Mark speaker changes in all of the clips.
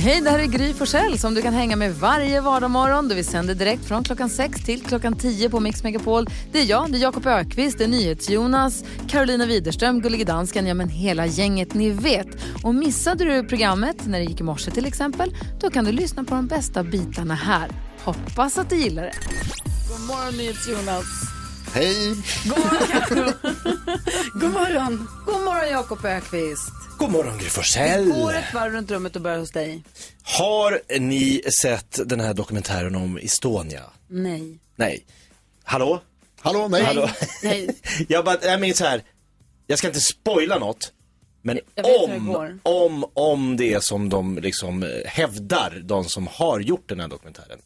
Speaker 1: Hej, det här är Gry Forssell som du kan hänga med varje vardagsmorgon. Vi sänder direkt från klockan 6 till klockan 10 på Mix Megapol. Det är jag, det är Jakob Ökvist, det är NyhetsJonas, Carolina Widerström, Gullige Dansken, ja men hela gänget ni vet. Och missade du programmet när det gick i morse till exempel, då kan du lyssna på de bästa bitarna här. Hoppas att du gillar det.
Speaker 2: God morgon, NyhetsJonas.
Speaker 3: Hej!
Speaker 2: God morgon, Karo. God morgon.
Speaker 1: God morgon Jakob Ökvist.
Speaker 4: God morgon Gry
Speaker 2: Vi
Speaker 4: Forssell.
Speaker 2: går ett varv runt rummet och börjar hos dig.
Speaker 4: Har ni sett den här dokumentären om Estonia?
Speaker 2: Nej.
Speaker 4: Nej. Hallå?
Speaker 3: Hallå, nej.
Speaker 4: Hallå?
Speaker 2: Nej.
Speaker 4: Jag bara, jag minns så här. Jag ska inte spoila något. Men
Speaker 2: Jag vet hur det går.
Speaker 4: om, om, om det är som de liksom eh, hävdar, de som har gjort den här dokumentären.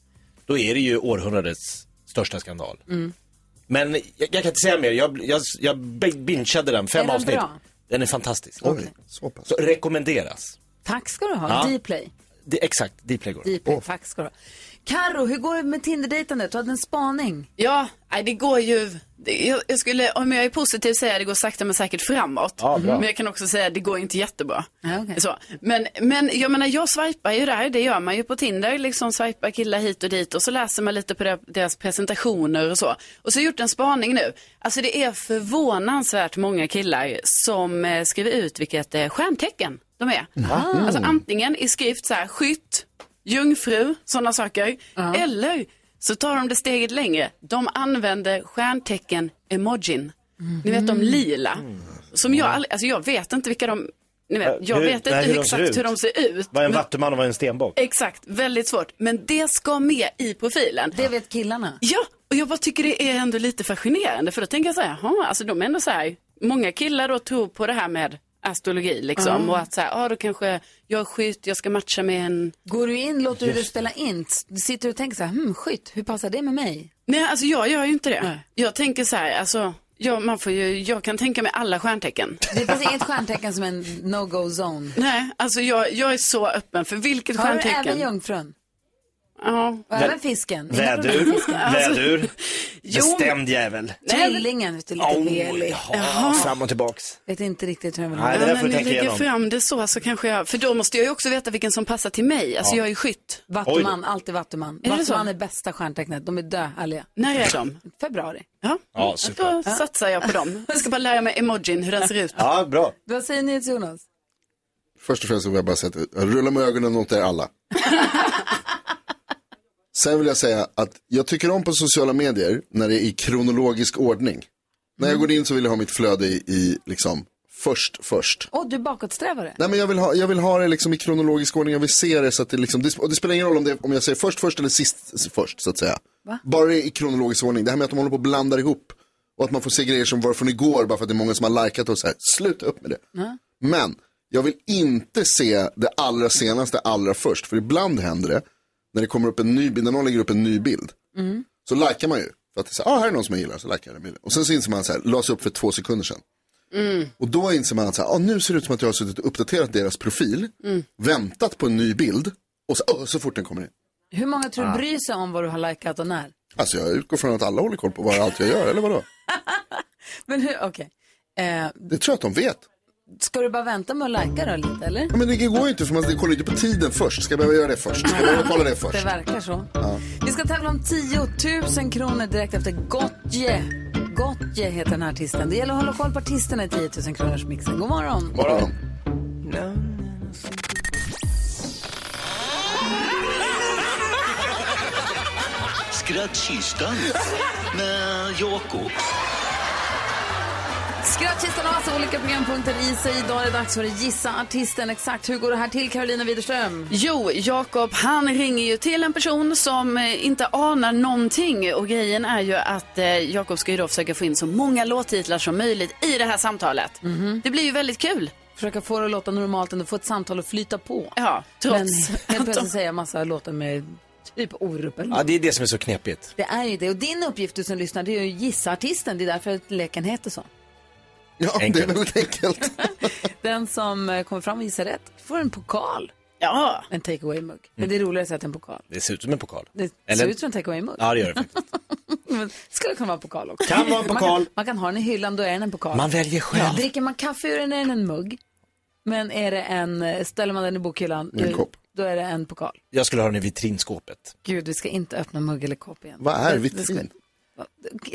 Speaker 4: Då är det ju århundradets största skandal.
Speaker 2: Mm.
Speaker 4: Men jag, jag kan inte säga mer, jag, jag, jag bingeade den, fem
Speaker 2: Är den
Speaker 4: avsnitt.
Speaker 2: bra?
Speaker 4: Den är fantastisk.
Speaker 3: Oj, så pass.
Speaker 4: Så rekommenderas.
Speaker 2: Tack ska du ha.
Speaker 4: Ja.
Speaker 2: Dplay.
Speaker 4: Det, exakt, Dplay går.
Speaker 1: Deep, Tack ska du ha. Karo, hur går det med Tinder-dejtandet? Du hade en spaning.
Speaker 5: Ja, nej, det går ju... det- Jag, jag skulle, om jag är positiv, säga att det går sakta men säkert framåt. men jag kan också säga att det går inte jättebra.
Speaker 2: Ja, okej.
Speaker 5: så. men, men jag menar, jag swipar ju där, det gör man ju på Tinder. Liksom swipar killar hit och dit och så läser man lite på det- deras presentationer och så. Och så har jag gjort en spaning nu. Alltså det är förvånansvärt många killar som eh, skriver ut vilket eh, stjärntecken de är. Alltså antingen i skrift så här, skytt, jungfru, sådana saker. Eller så tar de det steget längre. De använder stjärntecken-emojin. Ni vet de lila. Som jag aldrig, alltså jag vet inte vilka de, ni vet, jag
Speaker 4: hur-
Speaker 5: vet inte
Speaker 4: nej, hur de ser
Speaker 5: exakt
Speaker 4: ut.
Speaker 5: hur de ser ut.
Speaker 4: Vad är en
Speaker 5: men-
Speaker 4: vattuman och vad är en stenbock?
Speaker 5: Exakt, väldigt svårt. Men det ska med i profilen.
Speaker 1: Det vet killarna.
Speaker 5: Ja, och jag bara tycker det är ändå lite fascinerande för då tänker jag så här, jaha, alltså de är ändå så här, många killar då tror på det här med astrologi liksom och att så här, ja då kanske jag är skytt, jag ska matcha med en
Speaker 1: Går du in, låter du det spela in? Sitter du och tänker så här, hmm, skytt, hur passar det med mig?
Speaker 5: Nej, alltså jag gör ju inte det. Jag tänker så här, alltså, jag, man får ju, jag kan tänka mig alla stjärntecken.
Speaker 1: Det finns inget stjärntecken som är en no-go zone.
Speaker 5: Nej, alltså jag, jag är så öppen för vilket
Speaker 1: Har du
Speaker 5: stjärntecken.
Speaker 1: även jungfrun?
Speaker 5: ja.
Speaker 1: Och även fisken?
Speaker 4: Vädur,
Speaker 1: Alltså,
Speaker 4: vädur,
Speaker 5: Jo,
Speaker 4: bestämd jävel.
Speaker 1: Tvillingen, vet du, lite
Speaker 4: Oh,
Speaker 1: velig.
Speaker 4: ja, fram och tillbaks.
Speaker 1: Vet inte riktigt hur den
Speaker 4: Nej, det där
Speaker 5: Ja, men
Speaker 4: får du
Speaker 5: ni
Speaker 4: tänka
Speaker 5: lägger
Speaker 4: igenom.
Speaker 5: fram det så, så kanske jag, för då måste jag ju också veta vilken som passar till mig. Alltså jag är ju skytt.
Speaker 1: Vattuman, alltid Vattuman.
Speaker 5: det
Speaker 1: Vattuman
Speaker 5: så?
Speaker 1: är bästa stjärntecknet, de är döhärliga.
Speaker 5: När är de?
Speaker 1: Februari.
Speaker 5: Ja,
Speaker 4: Ja, super.
Speaker 5: då satsar jag på dem. Jag ska bara lära mig emojin, hur den ser ut.
Speaker 4: Ja, bra.
Speaker 1: Vad säger ni till Jonas?
Speaker 3: Först och främst vill jag bara säga att rulla med ögonen åt er alla. Sen vill jag säga att jag tycker om på sociala medier när det är i kronologisk ordning. När jag går in så vill jag ha mitt flöde i, i liksom först, först.
Speaker 1: Åh, du är bakåtsträvare.
Speaker 3: Nej men jag vill ha, jag vill ha det liksom i kronologisk ordning, jag vill se det så att det liksom, det, sp- och det spelar ingen roll om, det, om jag säger först först eller sist s- först så att säga. Bara det är i kronologisk ordning, det här med att de håller på och blandar ihop och att man får se grejer som var från igår bara för att det är många som har likat och så här, sluta upp med det. Men jag vill inte se det allra senaste allra först, för ibland händer det när det kommer upp en ny bild, när någon lägger upp en ny bild, så likar man ju. För att det är så här, ah, här är någon som jag gillar, så likar jag den bilden. Och sen så inser man så här, lades upp för två sekunder sedan. Och då inser man att så här, ah, nu ser det ut som att jag har suttit och uppdaterat deras profil,
Speaker 1: Mm.
Speaker 3: väntat på en ny bild och så, "Åh", så fort den kommer in.
Speaker 1: Hur många tror du bryr sig om vad du har likat och när?
Speaker 3: Alltså jag utgår från att alla håller koll på vad allt jag gör, eller vadå?
Speaker 1: Men hur, okej. Eh,
Speaker 3: Det tror jag att de vet.
Speaker 1: ska du bara vänta med att lika då lite, eller?
Speaker 3: Ja, Men det går ju inte, för man kollar ju inte på tiden först. Ska jag behöva göra det först? Ska jag behöva kolla det
Speaker 1: Det
Speaker 3: först?
Speaker 1: verkar så. Vi ska tävla om 10 000 kronor direkt efter Gottje. Gottje heter den här artisten. Det gäller att hålla koll på artisterna i 10 000 kronors mixen. God morgon.
Speaker 3: Bara.
Speaker 6: Skrattkistan med Jakob.
Speaker 1: Skrattkistan har alltså olika programpunkter i sig. Idag är det dags för att gissa artisten. Exakt hur går det här till, Carolina Widerström?
Speaker 5: Jo, Jakob han ringer ju till en person som eh, inte anar någonting och grejen är ju att eh, Jakob ska ju då försöka få in så många låttitlar som möjligt i det här samtalet.
Speaker 1: Mhm.
Speaker 5: Det blir ju väldigt kul.
Speaker 1: Försöka få det att låta normalt ändå, få ett samtal att flyta på.
Speaker 5: Ja,
Speaker 1: Men
Speaker 5: trots
Speaker 1: helt
Speaker 5: att de...
Speaker 1: plötsligt säga massa låtar med typ Orup eller
Speaker 4: Ja, det är det som är så knepigt.
Speaker 1: Det är ju det. Och din uppgift du som lyssnar det är ju att gissa artisten. Det är därför leken heter så.
Speaker 3: Ja,
Speaker 4: Enkelt.
Speaker 3: det är väldigt enkelt.
Speaker 1: Den som eh, kommer fram och gissar rätt får en pokal.
Speaker 5: Ja,
Speaker 1: En takeaway-mugg. Men det är roligare att säga att det är en pokal.
Speaker 4: Det ser ut som en pokal.
Speaker 1: Det ser
Speaker 4: Mm. Eller-
Speaker 1: ut som en takeaway-mugg.
Speaker 4: Ja, det gör det faktiskt.
Speaker 1: Men Skulle kunna vara en pokal också.
Speaker 4: Kan vara en
Speaker 1: Man
Speaker 4: pokal.
Speaker 1: kan, man kan ha den i hyllan, då är den en pokal.
Speaker 4: Man väljer själv.
Speaker 1: Dricker man kaffe ur den är den en mugg. Men är det en, eh, ställer man den i bokhyllan,
Speaker 3: En
Speaker 1: då-
Speaker 3: kopp.
Speaker 1: då är det en pokal.
Speaker 4: Jag skulle ha den i vitrinskåpet.
Speaker 1: Gud, vi ska inte öppna mugg eller kopp igen.
Speaker 3: Vad är
Speaker 1: Det- det ska-
Speaker 3: vitrin?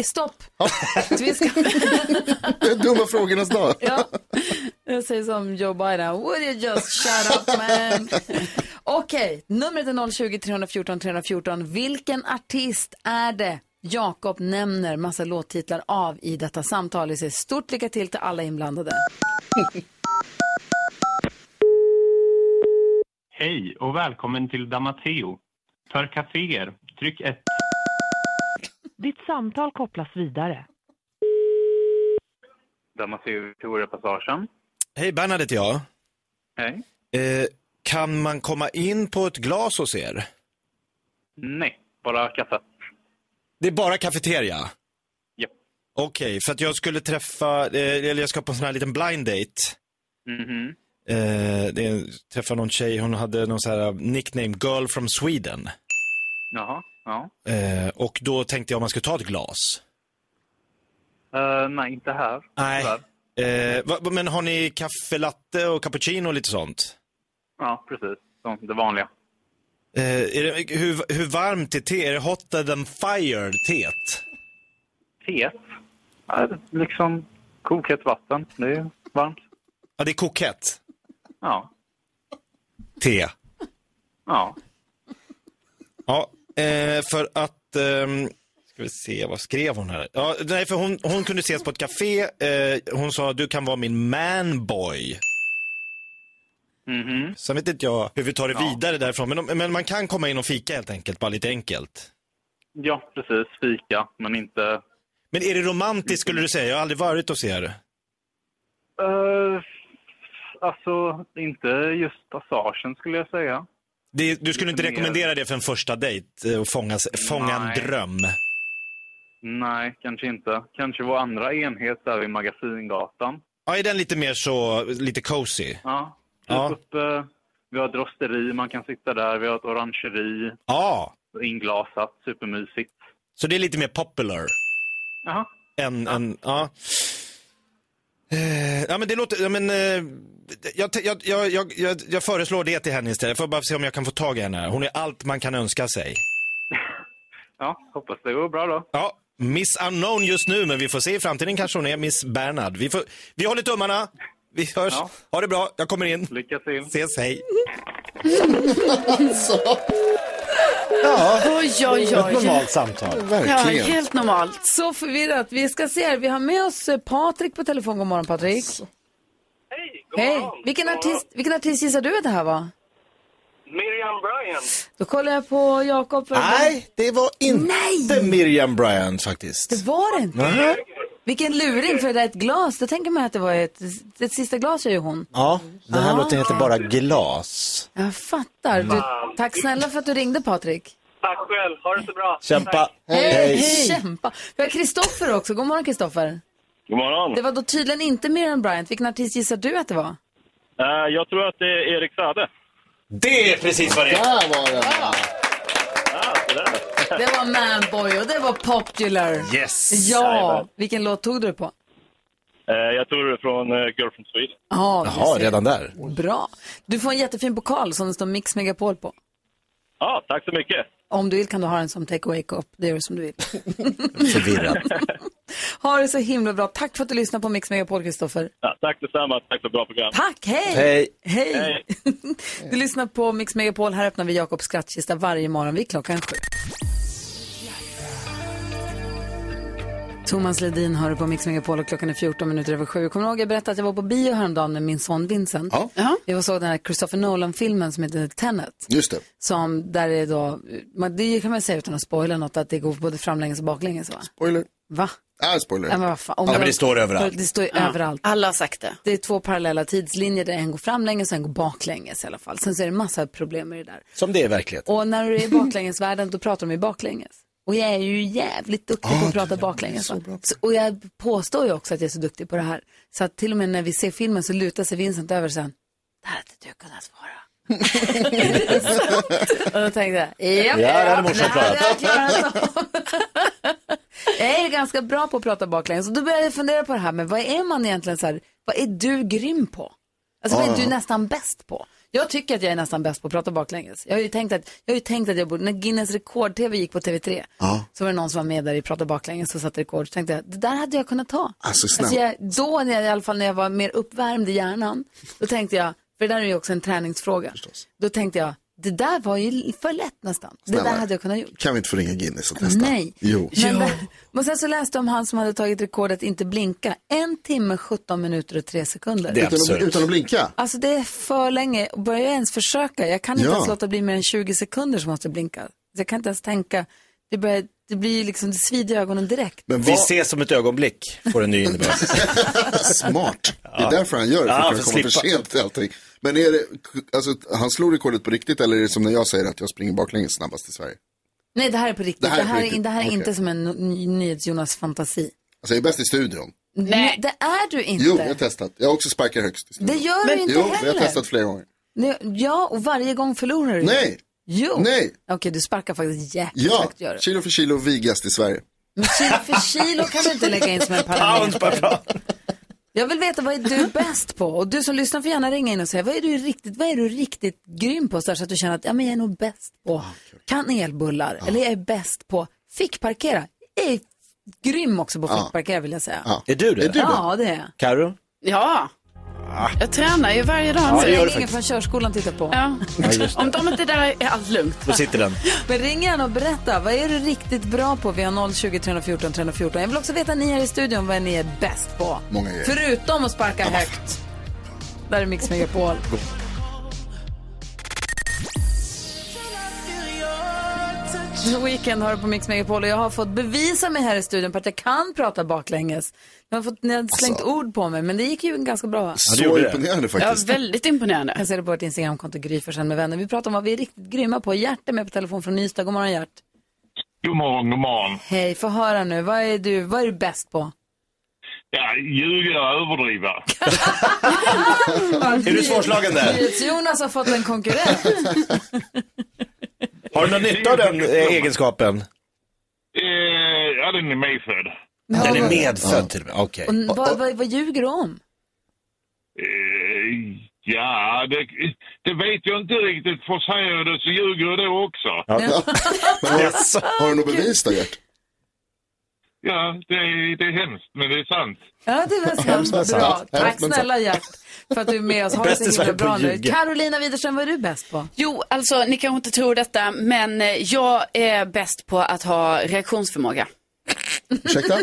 Speaker 1: Stopp! vi ska,
Speaker 3: Det är dumma frågornas dag.
Speaker 1: ja. Jag säger som Joe Biden, would you just shut up man? Okej, numret är 020-314 314. Vilken artist är det Jakob nämner massa låttitlar av i detta samtal? Vi säger stort lycka till till alla inblandade.
Speaker 7: Hej och välkommen till Damateo. För kaféer, tryck 1.
Speaker 8: Ditt samtal kopplas vidare.
Speaker 7: Damateo, Torepassageen.
Speaker 4: Hej, Bernhard heter jag.
Speaker 7: Hej.
Speaker 4: Eh, kan man komma in på ett glas hos er?
Speaker 7: Nej, bara kaffe.
Speaker 4: Det är bara kafeteria?
Speaker 7: Japp.
Speaker 4: Okej, för att jag skulle träffa, eh, eller jag ska på en sån här liten blind date.
Speaker 7: Mhm.
Speaker 4: Eh, det är, träffa någon tjej, hon hade någon sån här nickname, girl from Sweden.
Speaker 7: Jaha, ja.
Speaker 4: Eh, och då tänkte jag om man skulle ta ett glas.
Speaker 7: Eh, nej, inte här.
Speaker 4: Nej.
Speaker 7: tyvärr.
Speaker 4: Eh, va, va- men har ni kaffelatte och cappuccino och lite sånt?
Speaker 7: Ja, precis. Så, det vanliga.
Speaker 4: Eh, är det, hur, hur varmt är te? Är det hotter than fire teet?
Speaker 7: Teet. Ja, liksom kokhett vatten. Det är varmt.
Speaker 4: Ja, det är kokett
Speaker 7: Ja.
Speaker 4: te.
Speaker 7: Ja.
Speaker 4: Ja, eh, för att... ehm, ska vi se, vad skrev hon här? Ja, nej, för hon, hon kunde ses på ett café. Eh, hon sa, du kan vara min manboy.
Speaker 7: Mhm.
Speaker 4: Sen vet inte jag hur vi tar det vidare därifrån. Men, om- men man kan komma in och fika helt enkelt, bara lite enkelt.
Speaker 7: Ja, precis. Fika, men inte...
Speaker 4: Men är det romantiskt skulle du säga? Jag har aldrig varit hos er.
Speaker 7: Eh, alltså, inte just passagen skulle jag säga.
Speaker 4: Det, du skulle inte
Speaker 7: Lite mer.
Speaker 4: rekommendera det för en första dejt? eh, Att fångas, fånga
Speaker 7: Nej.
Speaker 4: en dröm?
Speaker 7: Nej, kanske inte. Kanske vår andra enhet där vid Magasingatan.
Speaker 4: Ja, är den lite mer så, lite cozy?
Speaker 7: Ja.
Speaker 4: Ja.
Speaker 7: Typ uppe, vi har ett rosteri, man kan sitta där. Vi har ett orangeri,
Speaker 4: Ja,
Speaker 7: inglasat, supermysigt.
Speaker 4: så det är lite mer popular?
Speaker 7: Jaha.
Speaker 4: En, ja. en, ja. Eh, Ja men det låter, ja, men, eh, jag, te- jag, jag, jag, jag, jag föreslår det till henne istället. Får jag bara se om jag kan få tag i henne. Hon är allt man kan önska sig.
Speaker 7: Ja, hoppas det går bra då.
Speaker 4: Ja, Miss Unknown just nu, men vi får se i framtiden kanske hon är Miss Bernhard. Vi, får, vi håller tummarna. Vi hörs.
Speaker 7: Ja.
Speaker 4: Ha det bra, jag kommer in.
Speaker 7: Lycka till.
Speaker 4: Ses, hej.
Speaker 5: oj, oj, oj.
Speaker 4: Normalt samtal.
Speaker 5: Ja,
Speaker 3: Verkligen.
Speaker 5: helt normalt.
Speaker 1: Så förvirrat. Vi ska se här. Vi har med oss eh, Patrik på telefon. God morgon Patrik.
Speaker 7: Hej,
Speaker 1: Hej. Vilken artist, vilken artist gissar du att det här var?
Speaker 7: Miriam Bryan.
Speaker 1: Då kollar jag på Jakob. för att-
Speaker 4: Nej, det var inte Miriam Bryant faktiskt.
Speaker 1: Det var det inte. Vilken luring, för det är ett glas. Då tänker man att det var ett, ett sista glas är ju hon.
Speaker 4: Ja, den här
Speaker 1: Ah. låten
Speaker 4: heter bara Glas.
Speaker 1: Jag fattar. Du, tack snälla för att du ringde Patrik.
Speaker 7: Tack själv, ha det så bra.
Speaker 4: Kämpa.
Speaker 1: Kämpa. Vi har Kristoffer också. God morgon Kristoffer.
Speaker 7: God morgon.
Speaker 1: Det var då tydligen inte Miriam Bryant. Vilken artist gissar du att det var?
Speaker 7: Eh, jag tror att det är Erik Sade.
Speaker 4: Det är precis vad det är.
Speaker 3: Där var den.
Speaker 7: Ja, det där.
Speaker 1: Det var Manboy och det var Popular.
Speaker 4: Yes.
Speaker 1: Ja,
Speaker 7: Jajamän.
Speaker 1: vilken låt tog du på?
Speaker 7: Eh, jag tror det är från uh, Girl from Sweden.
Speaker 1: Ja, du
Speaker 4: Jaha,
Speaker 1: ser.
Speaker 4: redan där.
Speaker 1: Bra. Du får en jättefin pokal som det står Mix Megapol på.
Speaker 7: Ja, tack så mycket.
Speaker 1: Om du vill kan du ha den som take away cup. Det gör du som du vill.
Speaker 4: Förvirrat.
Speaker 1: Ha det så himla bra. Tack för att du lyssnade på Mix Megapol, Kristoffer.
Speaker 7: Ja, tack detsamma, tack för bra program.
Speaker 1: Tack, hej!
Speaker 4: Hej.
Speaker 1: Hej! du lyssnar på Mix Megapol. Här öppnar vi Jakobs skrattkista varje morgon vid klockan sju. Thomas Ledin hör du på Mix Megapol och klockan är 14 minuter över sju. Kommer du ihåg jag berättade att jag var på bio häromdagen med min son Vincent?
Speaker 3: Ja.
Speaker 1: Jag var och såg den här Christopher Nolan-filmen som heter Tenet
Speaker 3: Just det.
Speaker 1: som där är då, man, det kan man säga utan att spoila något, att det går både framlänges och baklänges va?
Speaker 3: Spoiler.
Speaker 1: Va?
Speaker 3: Äh,
Speaker 1: Ja, men
Speaker 3: spoiler.
Speaker 1: vad fan, om
Speaker 4: Ja, men
Speaker 1: jag-
Speaker 4: det står överallt.
Speaker 1: Det står ju överallt.
Speaker 5: Alla har sagt det.
Speaker 1: Det är två parallella tidslinjer där en går framlänges och en går baklänges i alla fall. Sen så är det massa problem med det där.
Speaker 4: Som det är i verkligheten.
Speaker 1: Och när du är i baklängesvärlden då pratar de ju baklänges. Och jag är ju jävligt duktig på att prata baklänges. va? Så och jag påstår ju också att jag är så duktig på det här. Så att till och med när vi ser filmen så lutar sig Vincent över sen. Det här hade du kunnat svara. och då tänkte jag, japp,
Speaker 9: Ja, det hade morsan
Speaker 1: det hade jag
Speaker 9: klarat."
Speaker 1: klarat av. Jag är ganska bra på att prata baklänges. Och då började jag fundera på det här med vad är man egentligen så här, vad är du grym på? Alltså vad
Speaker 10: Ja,
Speaker 1: är du
Speaker 10: ja.
Speaker 1: nästan bäst på? Jag tycker att jag är nästan bäst på att prata baklänges. Jag har ju tänkt att jag, har ju tänkt att jag borde, när Guinness rekord-tv gick på TV3,
Speaker 3: Ja.
Speaker 1: så var det någon som var med där i Prata baklänges och satte rekord. Så tänkte jag, det där hade jag kunnat ta.
Speaker 3: Alltså snälla.
Speaker 1: Alltså jag, då, när jag, i alla fall när jag var mer uppvärmd i hjärnan, då tänkte jag, för det där är ju också en träningsfråga. Då tänkte jag, det där var ju för lätt nästan. Det där
Speaker 3: Snälla.
Speaker 1: hade jag kunnat gjort.
Speaker 3: Kan vi inte få ringa Guinness och testa?
Speaker 1: Nej.
Speaker 3: Jo.
Speaker 1: Men, där- men sen så läste jag om han som hade tagit rekordet inte blinka. En timme, 17 minuter och 3 sekunder.
Speaker 3: Utan att, utan att blinka?
Speaker 1: Alltså det är för länge. Och Börjar jag ens försöka? Jag kan inte
Speaker 3: Ja.
Speaker 1: ens låta bli mer än 20 sekunder som måste blinka. Så jag kan inte ens tänka. Det, börjar, det blir ju liksom, det svider i ögonen direkt.
Speaker 4: Vi ses om ett ögonblick, får en ny innebörd.
Speaker 3: Smart. Det är därför han gör det, för
Speaker 4: Ja,
Speaker 3: att kunna
Speaker 4: för
Speaker 3: komma för
Speaker 4: slippa.
Speaker 3: sent till allting. Men är det, alltså, han slog rekordet på riktigt eller är det som när jag säger att jag springer baklänges snabbast i Sverige?
Speaker 1: Nej, det här är på riktigt. Det här är, det här är,
Speaker 3: riktigt. Okej.
Speaker 1: inte som en ny- nyhets-Jonas-fantasi.
Speaker 3: Alltså jag är bäst i studion.
Speaker 1: Nej. Det är du inte.
Speaker 3: Jo, jag har testat. Jag har också sparkat högst i studion.
Speaker 1: Det gör du inte
Speaker 3: jo,
Speaker 1: heller.
Speaker 3: Jo, jag har testat flera gånger.
Speaker 1: Nej, Ja, och varje gång förlorar du.
Speaker 3: Nej.
Speaker 1: Jo.
Speaker 3: Nej.
Speaker 1: Okej, du sparkar faktiskt jäkligt
Speaker 3: Ja,
Speaker 1: högt. Gör du.
Speaker 3: kilo för kilo vigast i Sverige.
Speaker 1: Men kilo för kilo kan du inte lägga in som en parameter. Jag vill veta vad är du bäst på? Och du som lyssnar får gärna ringa in och säga vad är du riktigt, vad är du riktigt grym på? Så, här, så att du känner att ja, men jag är nog bäst
Speaker 3: Ah,
Speaker 1: på kanelbullar. Eller jag är bäst på fickparkera. Jag är grym också på
Speaker 3: Ah.
Speaker 4: Ja.
Speaker 1: fickparkera vill jag säga.
Speaker 4: Är du det?
Speaker 1: Ja, det är jag.
Speaker 4: Karo?
Speaker 5: Ja. Jag tränar ju varje dag.
Speaker 4: Ah. Ja, det gör du
Speaker 1: Ingen
Speaker 4: faktiskt.
Speaker 1: från körskolan tittar på.
Speaker 4: Ja, just
Speaker 5: Om de inte är där är allt lugnt.
Speaker 4: Då sitter den.
Speaker 1: Men ring gärna och berätta, vad är du riktigt bra på? Vi har 020 314 314. Jag vill också veta ni här i studion vad ni är bäst på.
Speaker 3: Många grejer.
Speaker 1: Förutom att sparka högt. Där är Mix Megapol. The Weeknd har du på Mix Megapol och jag har fått bevisa mig här i studion på att jag kan prata baklänges. Ni har, fått, ni har slängt
Speaker 4: Alltså.
Speaker 1: ord på mig, men det gick ju ganska bra.
Speaker 3: Så Ja, det gjorde det. imponerande faktiskt.
Speaker 5: Ja, väldigt imponerande.
Speaker 1: Jag ser det på vårt Instagramkonto Gry Forssell med vänner. Vi pratar om vad vi är riktigt grymma på. Gert är med på telefon från Ystad. God morgon Gert.
Speaker 11: God morgon, god morgon.
Speaker 1: Hej, få höra nu. Vad är du, vad är du bäst på?
Speaker 11: Ja, ljuga och överdriva.
Speaker 4: Är du svårslagen där?
Speaker 1: Jonas har fått en konkurrent.
Speaker 4: Har du någon nytta av den eh, egenskapen?
Speaker 11: Eh, ja, den är medfödd.
Speaker 4: Den är medfödd till och med, okej.
Speaker 1: Och n- vad, vad, vad ljuger du om?
Speaker 11: Eh, ja, det, det vet jag inte riktigt. För säger jag det så ljuger jag då också.
Speaker 3: Ja. Men har, har du något bevis då, Gert?
Speaker 11: Ja, det, är- det är hemskt, men det är sant.
Speaker 1: Ja, det var så
Speaker 11: Hemskt men
Speaker 1: hemskt bra.
Speaker 11: sant.
Speaker 1: Tack
Speaker 11: Hemskt men sant.
Speaker 1: snälla Gert för att du är med oss. Har det
Speaker 11: Bäst i
Speaker 1: så himla
Speaker 11: Sverige på
Speaker 1: bra
Speaker 11: att
Speaker 1: nu.
Speaker 11: ljuga.
Speaker 1: Carolina Widerström, vad är du bäst på?
Speaker 5: Jo, alltså ni kanske inte tror detta, men eh, jag är bäst på att ha reaktionsförmåga.
Speaker 3: Ursäkta?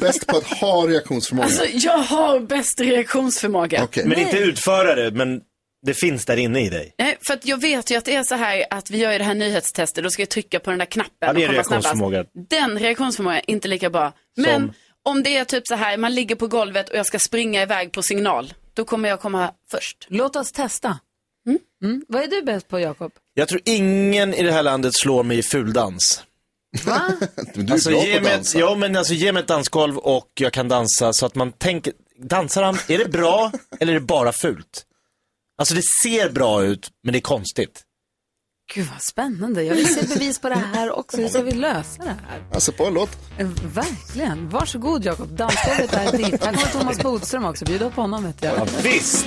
Speaker 3: Bäst på att ha reaktionsförmåga.
Speaker 5: Alltså, jag har bäst reaktionsförmåga.
Speaker 4: Men inte utförare, men det finns där inne i dig.
Speaker 5: Nej, för att jag vet ju att det är så här att vi gör ju det här nyhetstestet, då ska jag trycka på den där knappen
Speaker 4: Ja, det är
Speaker 5: och komma
Speaker 4: reaktionsförmåga.
Speaker 5: snabbast. Den reaktionsförmågan är inte lika bra. Men
Speaker 4: Som?
Speaker 5: om det är typ så här, man ligger på golvet och jag ska springa iväg på signal, då kommer jag komma först.
Speaker 1: Låt oss testa. Mm. Vad är du bäst på, Jakob?
Speaker 4: Jag tror ingen i det här landet slår mig i fuldans.
Speaker 3: Men du är bra på
Speaker 4: alltså, ge
Speaker 3: att
Speaker 4: mig
Speaker 3: dansa.
Speaker 4: Ett, ja, men alltså ge mig ett dansgolv och jag kan dansa så att man tänker, dansar han, är det bra eller är det bara fult? Alltså det ser bra ut, men det är konstigt.
Speaker 1: Gud, vad spännande. Jag vill se bevis på det här också. Hur ska vi lösa det här?
Speaker 3: Alltså på en låt.
Speaker 1: Eh, Verkligen. Varsågod, Jakob. Dansgolvet är ditt. Här kommer Thomas Bodström också. Bjud upp honom, vet jag.
Speaker 4: visst.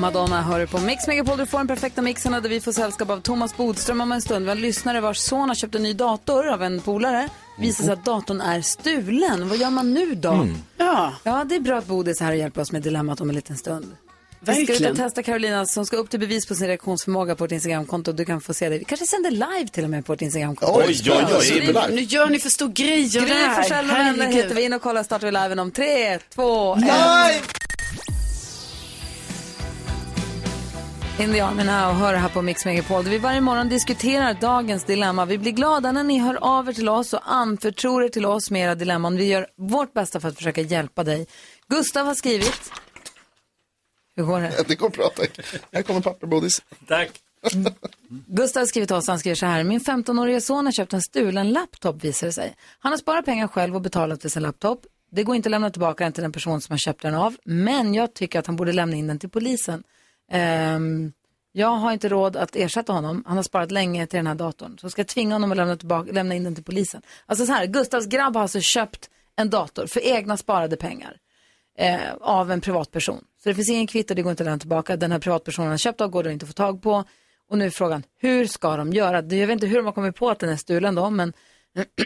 Speaker 1: Madonna hör du på Mix Megapol. Du får den perfekta mixen och där vi får sällskap av Thomas Bodström om en stund. Vi har en lyssnare vars son har köpt en ny dator av en polare. Visar sig att datorn är stulen. Vad gör man nu då?
Speaker 9: Mm.
Speaker 5: Ja.
Speaker 1: ja, det är bra att Bodis är här och hjälper oss med dilemmat om en liten stund. Vi ska ut
Speaker 9: Verkligen.
Speaker 1: och testa Carolina som ska upp till bevis på sin reaktionsförmåga på vårt Instagramkonto. Du kan få se det. Vi kanske sänder live till och med på vårt Instagramkonto.
Speaker 4: Oj, oj, oj,
Speaker 1: Så vi-
Speaker 4: superlive.
Speaker 5: Nu gör ni för stor grej av det
Speaker 1: Gry
Speaker 5: här.
Speaker 1: Forssell och vänner
Speaker 5: Herregud.
Speaker 1: heter vi. In och kolla startar vi liven om tre, två,
Speaker 5: Live!
Speaker 1: ett. Indianerna och hör här på Mix Megapol där vi varje morgon diskuterar dagens dilemma. Vi blir glada när ni hör av er till oss och anförtror er till oss med era dilemman. Vi gör vårt bästa för att försöka hjälpa dig. Gustav har skrivit. Hur går det?
Speaker 3: Det går bra, tack. Här kommer papper, Bodis.
Speaker 4: Tack.
Speaker 1: Gustav har skrivit till oss, han skriver så här. Min 15-årige son har köpt en stulen laptop visar det sig. Han har sparat pengar själv och betalat för sin laptop. Det går inte att lämna tillbaka den till den person som har köpt den av. Men jag tycker att han borde lämna in den till polisen. Ehm, jag har inte råd att ersätta honom. Han har sparat länge till den här datorn. Så ska jag tvinga honom att lämna, tillbaka, lämna in den till polisen. Alltså så här, Gustavs grabb har alltså köpt en dator för egna sparade pengar eh, av en privatperson. Så det finns ingen kvitto, det går inte att lämna tillbaka. Den här privatpersonen har köpt av går det inte att få tag på. Och nu är frågan, hur ska de göra? Jag vet inte hur de har kommit på att den är stulen då, men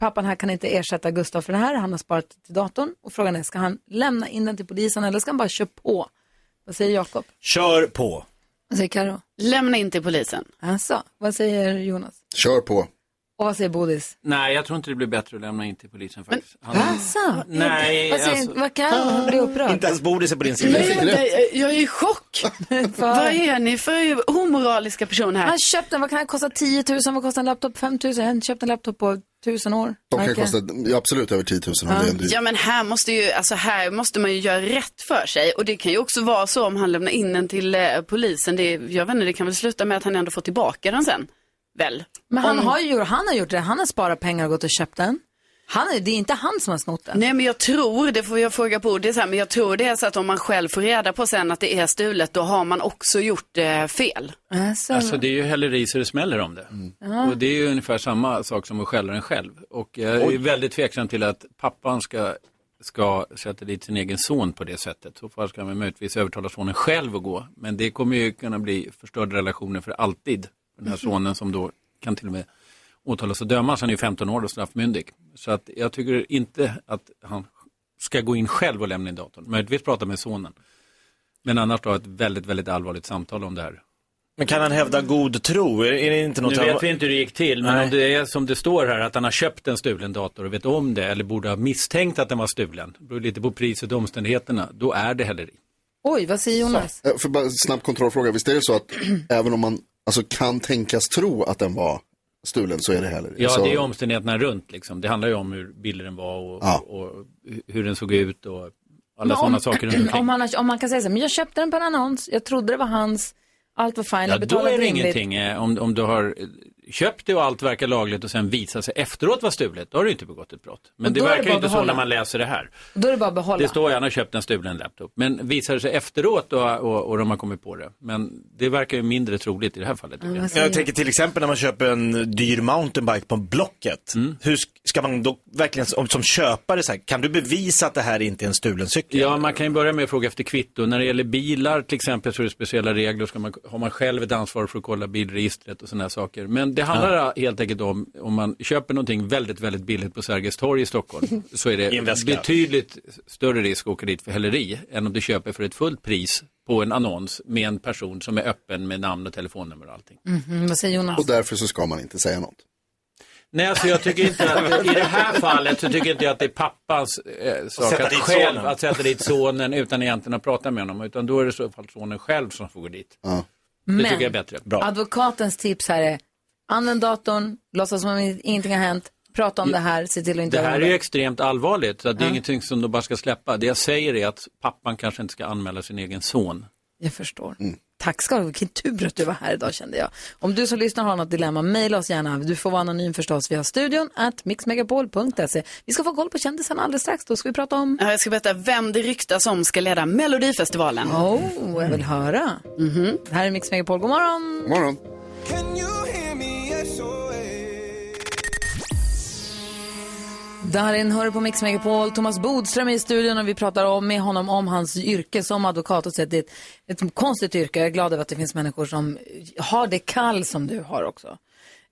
Speaker 1: pappan här kan inte ersätta Gustav för det här. Han har sparat till datorn. Och frågan är, ska han lämna in den till polisen eller ska han bara köra på? Vad säger Jakob?
Speaker 4: Kör på.
Speaker 1: Vad säger Karo?
Speaker 5: Lämna in till polisen.
Speaker 1: Alltså, vad säger Jonas?
Speaker 3: Kör på.
Speaker 1: Och vad säger Bodis?
Speaker 12: Nej, jag tror inte det blir bättre att lämna in till polisen faktiskt. Han...
Speaker 1: Alltså,
Speaker 12: Nej,
Speaker 1: vad säger,
Speaker 12: alltså.
Speaker 1: vad kan han bli upprörd?
Speaker 4: Inte ens Bodis är på din sida.
Speaker 5: Nej, jag, jag är i chock. Vad är ni för omoraliska personer här?
Speaker 1: Han köpte den, vad kan den kosta? 10 000, vad kostar en laptop? 5 000? Han köpte en laptop på 1000 år.
Speaker 3: De kan
Speaker 1: Verkar.
Speaker 3: kosta ja, absolut över 10 000 om det är en dyr.
Speaker 5: Ja men här måste, ju, alltså här måste man ju göra rätt för sig och det kan ju också vara så om han lämnar in den till eh, polisen. Det, jag vet inte, det kan väl sluta med att han ändå får tillbaka den sen. Väl?
Speaker 1: Men han
Speaker 5: Om-
Speaker 1: har ju han har gjort det, han har sparat pengar och gått och köpt den. Han är, det är inte han som har snott den.
Speaker 5: Nej men jag tror, det får jag fråga på det så här, men jag tror det är så att om man själv får reda på sen att det är stulet, då har man också gjort eh, fel.
Speaker 1: Alltså,
Speaker 12: Alltså det är ju häleri så det smäller om det.
Speaker 1: Ja.
Speaker 12: Och det är ju ungefär samma sak som att skälla den själv. Och jag är
Speaker 5: Oj.
Speaker 12: väldigt tveksam till att pappan ska, ska sätta dit sin egen son på det sättet. Så fall ska man möjligtvis övertala sonen själv att gå. Men det kommer ju kunna bli förstörda relationer för alltid. Den här
Speaker 13: Mhm.
Speaker 12: sonen som då kan till och med åtalas och dömas. Han är ju 15 år och straffmyndig. Så att jag tycker inte att han ska gå in själv och lämna in datorn. Möjligtvis prata med sonen. Men annars då ett väldigt, väldigt allvarligt samtal om det här.
Speaker 4: Men kan han hävda god tro? Är, är det inte något
Speaker 12: Nu vet vi inte hur det gick till, men
Speaker 4: Nej.
Speaker 12: om det är som det står här att han har köpt en stulen dator och vet om det eller borde ha misstänkt att den var stulen, det beror lite på priset och omständigheterna, då är det häleri.
Speaker 1: Oj, vad säger Jonas?
Speaker 3: Eh, För bara en snabb kontrollfråga, visst är det så att även om man alltså, kan tänkas tro att den var stulen så är det heller
Speaker 12: Ja,
Speaker 3: så...
Speaker 12: det är omständigheterna runt liksom. Det handlar ju om hur billig den var och,
Speaker 3: Ja.
Speaker 12: och, hur den såg ut och alla
Speaker 1: Men
Speaker 12: sådana
Speaker 1: om,
Speaker 12: saker runt omkring.
Speaker 1: Om, han har, om man kan säga så här, men jag köpte den på en annons, jag trodde det var hans, allt var fine,
Speaker 12: Ja,
Speaker 1: jag
Speaker 12: då
Speaker 1: betalade
Speaker 12: är det
Speaker 1: rimligt.
Speaker 12: ingenting. eh, Om, om du har eh, köpt det och allt verkar lagligt och sen visar sig efteråt vara stulet, då har du inte begått ett brott. Men
Speaker 1: Och
Speaker 12: det
Speaker 1: då är det
Speaker 12: verkar
Speaker 1: bara
Speaker 12: ju inte
Speaker 1: att
Speaker 12: så
Speaker 1: behålla.
Speaker 12: när man läser det här.
Speaker 1: Då är det bara att behålla.
Speaker 12: Det står ju han har köpt en stulen laptop. Men visar det sig efteråt och, och, och de har kommit på det. Men det verkar ju mindre troligt i det här fallet. tycker
Speaker 4: Mm,
Speaker 12: jag.
Speaker 4: jag tänker till exempel när man köper en dyr mountainbike på Blocket.
Speaker 12: Mm.
Speaker 4: Hur sk- ska man då verkligen som, som köpare, så här, kan du bevisa att det här inte är en stulen cykel?
Speaker 12: Ja, man kan ju börja med att fråga efter kvitto. När det gäller bilar till exempel så är det speciella regler. Ska man, har man själv ett ansvar för att kolla bilregistret och sådana här saker. Men det handlar helt enkelt om, om man köper någonting väldigt, väldigt billigt på Sergels torg i Stockholm, så är
Speaker 4: I en
Speaker 12: det
Speaker 4: väska.
Speaker 12: betydligt större risk att åka dit för häleri än om du köper för ett fullt pris på en annons med en person som är öppen med namn och telefonnummer och allting.
Speaker 1: Mhm, vad säger Jonas?
Speaker 3: Och därför så ska man inte säga något.
Speaker 12: Nej, alltså jag tycker inte att, i det här fallet så tycker inte jag att det är pappans eh, sak
Speaker 4: sätta
Speaker 12: att
Speaker 4: dit
Speaker 12: själv
Speaker 4: sonen.
Speaker 12: att sätta dit sonen utan egentligen att prata med honom. Utan då är det i så fall sonen själv som får gå dit. Det
Speaker 1: Men-
Speaker 12: tycker jag är bättre.
Speaker 1: Advokatens tips här är, använd datorn, låtsas som om ingenting har hänt, prata om
Speaker 12: Ja.
Speaker 1: det här, se till att inte
Speaker 12: Det här
Speaker 1: göra
Speaker 12: är ju extremt allvarligt, så att det är ingenting som de bara ska släppa. Det jag säger är att pappan kanske inte ska anmäla sin egen son.
Speaker 1: Jag förstår. Tack ska du ha. Vilken tur att du var här idag kände jag. Om du som lyssnar har något dilemma, mejla oss gärna. Du får vara anonym förstås via studion at mixmegapol.se. Vi ska få koll på kändisarna alldeles strax. Då ska vi prata om...
Speaker 5: Ja, Jag ska berätta vem det ryktas om ska leda Melodifestivalen.
Speaker 1: Oh, jag vill höra. Det här är Mix Megapol. God morgon!
Speaker 3: God morgon.
Speaker 1: Darin hör på Mix Megapol. Thomas Bodström är i studion och vi pratar om, med honom om hans yrke som advokat. Och så att det är ett, ett konstigt yrke. Jag är glad över att det finns människor som har det kall som du har också.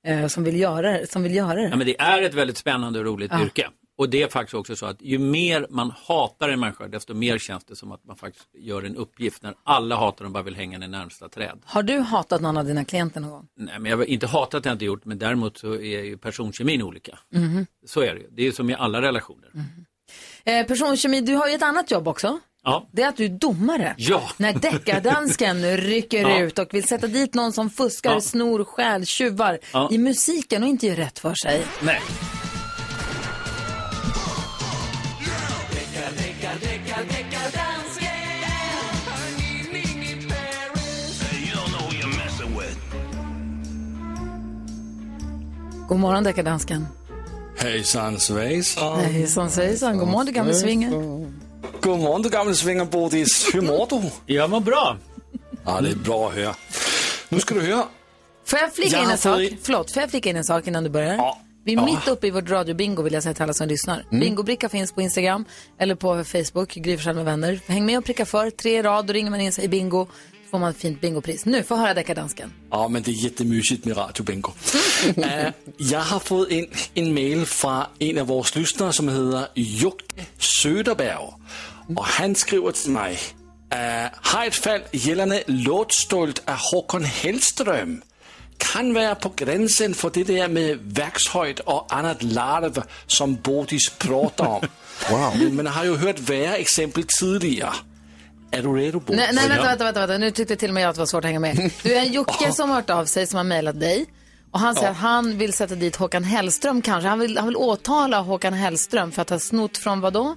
Speaker 1: Eh, som vill göra det. Som vill göra det.
Speaker 12: Ja, men det är ett väldigt spännande och roligt
Speaker 1: Ja.
Speaker 12: yrke. Och det är faktiskt också så att ju mer man hatar en människa, desto mer känns det som att man faktiskt gör en uppgift när alla hatar och bara vill hänga i närmsta träd.
Speaker 1: Har du hatat någon av dina klienter någon gång?
Speaker 12: Nej, men jag har inte hatat att jag inte gjort, men däremot så är ju personkemin olika.
Speaker 1: Mhm.
Speaker 12: Så är det ju. Det är ju som i alla relationer.
Speaker 4: Mm.
Speaker 1: Eh, personkemi, du har ju ett annat jobb också.
Speaker 12: Ja.
Speaker 1: Det är att du är domare.
Speaker 12: Ja.
Speaker 1: När deckardansken rycker
Speaker 12: Ja.
Speaker 1: ut och vill sätta dit någon som fuskar,
Speaker 12: Ja.
Speaker 1: snor, stjäl, tjuvar
Speaker 12: Ja.
Speaker 1: i musiken och inte gör rätt för sig.
Speaker 12: Nej.
Speaker 13: Deckardansken.
Speaker 1: God morgon deckardansken.
Speaker 14: Hejsan svejsan.
Speaker 1: Hejsan svejsan, god morgon du gamle svinger.
Speaker 14: God morgon du gamle svinger Bodis. Hur mår du? Jag mår bra. Ja, det är bra att höra. Nu ska du höra.
Speaker 1: Får jag flika
Speaker 14: Jag
Speaker 1: in
Speaker 14: har
Speaker 1: en sak?
Speaker 14: fått i-
Speaker 1: Förlåt, får jag flika in en sak innan du börjar? Vi är
Speaker 14: Ja.
Speaker 1: mitt uppe i vårt radiobingo vill jag säga till alla som lyssnar.
Speaker 14: Mm.
Speaker 1: Bingobricka finns på Instagram eller på Facebook, Gry Forssell med vänner. Häng med och pricka för, tre i rad, då ringer man in sig i bingo. Får man ett fint bingopris. Nu, får jag höra deckardansken.
Speaker 14: Ja, men det är jättemysigt med Radio Bingo. Eh, jag har fått en, en mail från en av våra lyssnare som heter Jocke Söderberg. Och han skriver till mig. eh, har ett fall gällande låtstolt av Håkan Hellström. Kan vara på gränsen för det där med verkshöjd och annat larv som Bodis pratar om. Men man har ju hört värre exempel tidigare. Är du redo Bodis?
Speaker 1: Nej, nej vänta, vänta, vänta, vänta, nu tyckte till och med jag att det var svårt att hänga med. Du är en Jocke som har hört av sig, som har mejlat dig. Och han säger
Speaker 14: Ja.
Speaker 1: att han vill sätta dit Håkan Hellström kanske. Han vill, han vill åtala Håkan Hellström för att ha snott från vad då?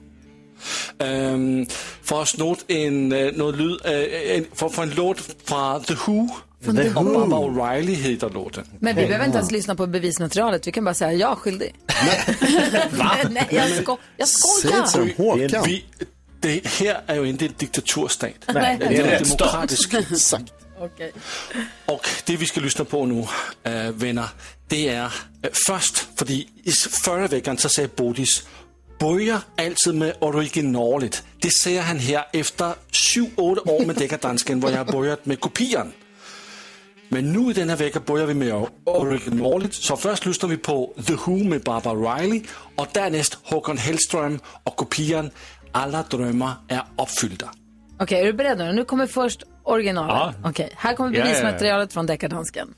Speaker 14: Ehm, for at snote en, øh, noget lyd, øh, en, for, for en låt fra The Who.
Speaker 1: Fra The
Speaker 14: Og
Speaker 1: Who.
Speaker 14: Baba O'Reilly hedder låten.
Speaker 1: Men vi behöver inte ens lyssna på bevismaterialet, vi kan bara säga jag är skyldig. Nej, jag, sko- jag skojar.
Speaker 14: Håkan. Vi, det her er jo ikke en diktaturstat.
Speaker 1: Nej, det er en
Speaker 14: det er
Speaker 1: retsstat.
Speaker 14: demokratisk.
Speaker 1: Okej.
Speaker 14: Og det vi skal lytte på nu, øh, venner, det er øh, først, fordi i førrevækkeren, så sagde Bodis, bøjer altid med originalet. Det ser han her efter 7-8 år med Dækkerdansken, hvor jeg har bøjet med kopieren. Men nu i den her vecka börjar vi med originalet. Så först lyssnar vi på The Who med Barbara Riley och därnäst Håkan Hellström och kopian Alla drömmar är uppfyllda.
Speaker 1: Okej, är du beredd nu? Nu kommer först originalet.
Speaker 14: Ja.
Speaker 1: Okej, här kommer
Speaker 14: Ja, ja, ja.
Speaker 1: bevismaterialet från deckardansken.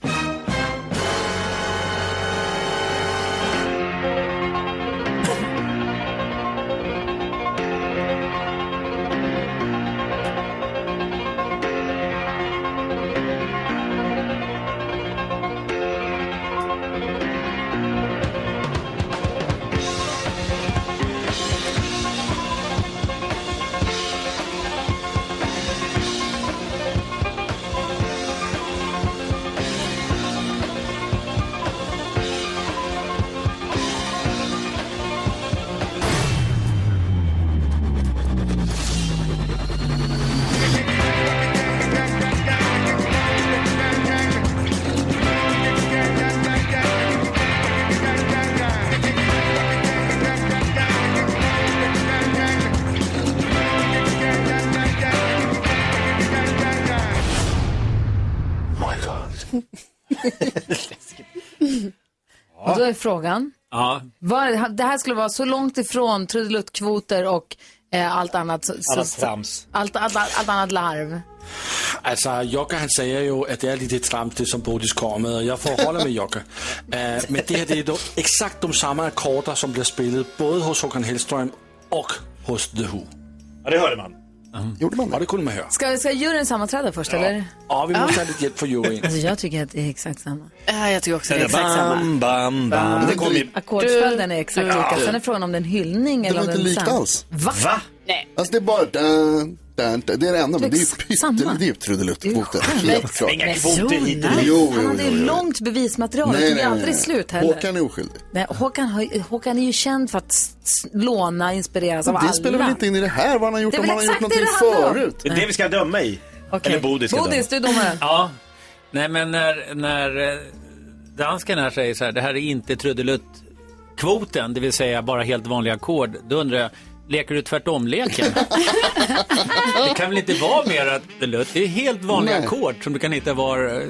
Speaker 1: Och då är frågan,
Speaker 12: Ja,
Speaker 1: Var, det här skulle vara så långt ifrån trudeluttkvoter och eh, allt annat. Så,
Speaker 14: Annat
Speaker 1: så,
Speaker 14: trams.
Speaker 1: Allt, allt, allt, allt annat larv.
Speaker 14: Altså, Jokke han säger ju att det är lite tramp det som Bodis kommer med, och jag får hålla med Jokke. Eh, men det här det är då exakt de samma ackorder som blir spelade både hos Håkan Hellström och hos The Who. Ja, det hörde man.
Speaker 3: Gjorde man
Speaker 14: det? Ja, det kunde man höra.
Speaker 1: Ska, ska juryn sammanträda först eller?
Speaker 14: Ja, vi måste ha lite hjälp från juryn.
Speaker 1: Alltså, jag tycker att det är exakt samma.
Speaker 5: Ja, jag tycker också det Ah. är exakt samma.
Speaker 4: Bam, bam, bam. Det kom i...
Speaker 1: Ackordsföljden är exakt
Speaker 4: Ja.
Speaker 1: lika. Sen är frågan om det är en hyllning
Speaker 3: Det
Speaker 1: eller
Speaker 3: var
Speaker 1: om
Speaker 3: inte
Speaker 1: den
Speaker 3: likt
Speaker 1: sen.
Speaker 3: alls.
Speaker 1: Va? Nej.
Speaker 3: Alltså det är bara... Dun, dun, dun. Det är det enda, men det är ju
Speaker 1: Exakt samma.
Speaker 3: pyttel- det är ju trudeluttkvoter. Helt klart.
Speaker 1: Nej, Jonas,
Speaker 3: Jo,
Speaker 1: Han
Speaker 3: jo,
Speaker 1: hade
Speaker 3: jo,
Speaker 1: ju
Speaker 3: jo.
Speaker 1: långt bevismaterial. Det tog ju aldrig slut heller.
Speaker 3: Håkan är oskyldig.
Speaker 1: Nej, Håkan, har- Håkan är ju känd för att s- s- låna och inspireras av alla.
Speaker 3: det spelar väl inte in i det här, vad han har gjort,
Speaker 1: Det är
Speaker 3: om
Speaker 1: väl
Speaker 3: han har gjort
Speaker 1: exakt det
Speaker 3: någonting
Speaker 1: det handlar om.
Speaker 3: förut.
Speaker 4: Det är det vi ska döma i.
Speaker 1: Okej.
Speaker 4: Eller Bodis ska
Speaker 1: Bodis, du
Speaker 4: döma.
Speaker 1: är domaren.
Speaker 12: Ja. Nej, men när, när eh, dansken här säger så här, det här är inte trudelutt-kvoten, det vill säga bara helt vanliga ackord, då undrar jag, leker du tvärtom-leken? det kan väl inte vara mer att trudelutt, det är helt vanliga
Speaker 15: Nej.
Speaker 12: ackord som du kan hitta var eh,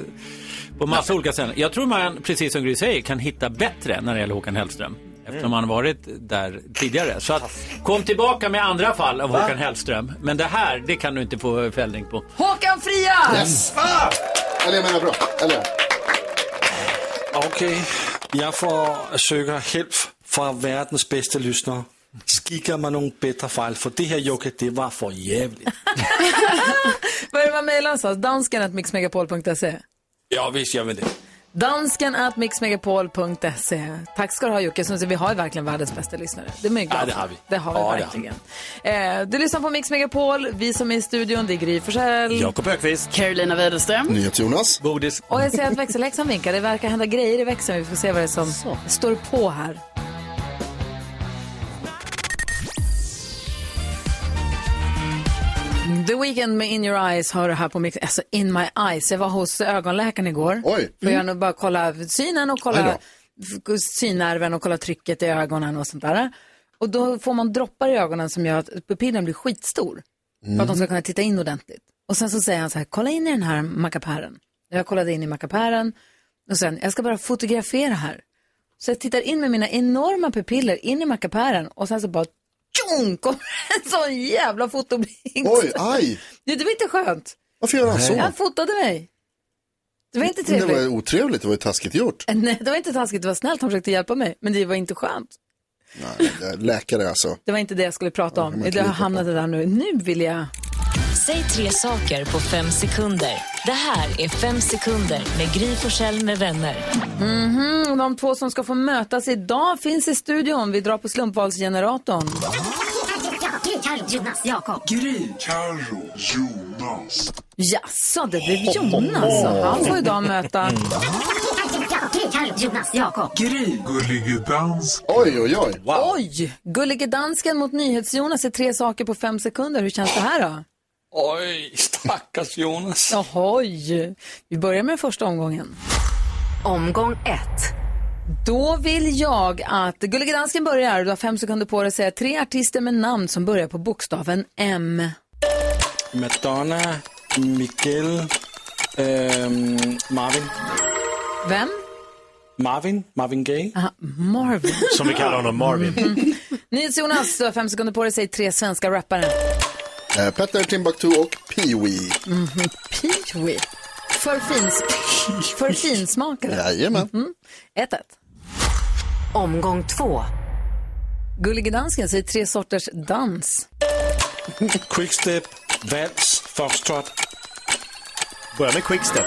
Speaker 12: på massa olika ställen. Jag tror man, precis som Gry säger, kan hitta bättre när det gäller Håkan Hellström. Eftersom
Speaker 15: Mm.
Speaker 12: han varit där tidigare. Så att, kom tillbaka med andra fall av
Speaker 1: Va?
Speaker 12: Håkan Hellström. Men det här, det kan du inte få fällning på.
Speaker 1: Håkan Fria!
Speaker 12: Yes.
Speaker 3: Eller jag menar bra. Eller?
Speaker 14: Okay, jeg får øh, søger hjælp fra verdens bedste lyssnere. Skikker mig nogle bedre fejl, for det her jokke, det var for jævligt.
Speaker 1: Vad är det man mejlar någonstans? Dansken at mixmegapol.se.
Speaker 14: Ja, visst, jeg vil det.
Speaker 1: Dansken at mixmegapol.se. Tack ska du ha Jocke, som sagt, vi har ju verkligen världens bästa lyssnare. Det är mycket
Speaker 14: Ja, det har vi.
Speaker 1: Det har vi
Speaker 14: Ja, det har vi.
Speaker 1: verkligen. Eh, du lyssnar på Mix Megapol, vi som är i studion, det är Gry Forssell.
Speaker 4: Jakob Ökvist.
Speaker 5: Carolina Widerström.
Speaker 3: Nyhets-Jonas.
Speaker 4: Bodis.
Speaker 1: Och jag ser att växelläxan vinkar. Det verkar hända grejer i växeln. Vi får se vad det är som står på här. The Weeknd med In Your Eyes har du här på mix. Alltså In My Eyes. Jag var hos ögonläkaren igår.
Speaker 3: Oj.
Speaker 1: För jag nu bara kolla synen och kolla f- synnerven och kolla trycket i ögonen och sånt där. Och då får man droppar i ögonen som gör att pupillen blir skitstor. För att de
Speaker 3: Mm.
Speaker 1: ska kunna titta in ordentligt. Och sen så säger han så här, kolla in i den här mackapären. Jag kollade in i mackapären och sen, jag ska bara fotografera här. Så jag tittar in med mina enorma pupiller in i mackapären och sen så bara tjong, kommer en sån jävla fotoblixt.
Speaker 3: Oj, aj.
Speaker 1: Ja, det var inte skönt.
Speaker 3: Varför gör han så?
Speaker 1: Han fotade mig. Det var inte
Speaker 3: Det
Speaker 1: trevligt.
Speaker 3: var ju otrevligt, det var ju taskigt gjort.
Speaker 1: Eh, Nej, det var inte taskigt, det var snällt. Han försökte hjälpa mig, men det var inte skönt.
Speaker 3: Nej, det är läkare alltså.
Speaker 1: Det var inte det jag skulle prata om.
Speaker 3: man
Speaker 1: Jag
Speaker 3: lita på.
Speaker 1: hamnade där nu. Nu vill jag...
Speaker 15: Säg tre saker på fem sekunder. Det här är Fem sekunder med Gry Forssell med vänner.
Speaker 1: Mhm, de två som ska få mötas idag finns i studion. Vi drar på slumpvalsgeneratorn.
Speaker 16: Gry, Carro, Jonas, Jakob. Gry, Carro, Jonas.
Speaker 1: Jaså, det blev Jonas. och Han får idag möta...
Speaker 16: Gry, Carro, Jonas, Jakob. Gry.
Speaker 11: Gullige dansk.
Speaker 3: Oj, oj, oj.
Speaker 1: Oj! Gullige dansken mot NyhetsJonas är tre saker på fem sekunder. Hur känns det här då?
Speaker 14: Oj, stackars Jonas.
Speaker 1: Ohoj! Vi börjar med första omgången. Omgång ett. Då vill jag att Gullige dansken börjar. Du har fem sekunder på dig att säga tre artister med namn som börjar på bokstaven M.
Speaker 14: Madonna, Miguel, ehm, Marvin.
Speaker 1: Vem?
Speaker 14: Marvin, Marvin Gaye.
Speaker 1: Aha, Marvin.
Speaker 4: Som vi kallar honom, Marvin.
Speaker 1: NyhetsJonas, du har fem sekunder på dig att säga tre svenska rappare.
Speaker 3: Eh, Petter, Timbuktu och Pee-Wee.
Speaker 1: Mhm, Pee-wee. För, fins... för finsmakare.
Speaker 3: Jajamän.
Speaker 1: Mhm. 1-1. Omgång två. Gullige dansken säger tre sorters dans.
Speaker 14: Quickstep, Vals, Foxtrot.
Speaker 4: Börja med quickstep.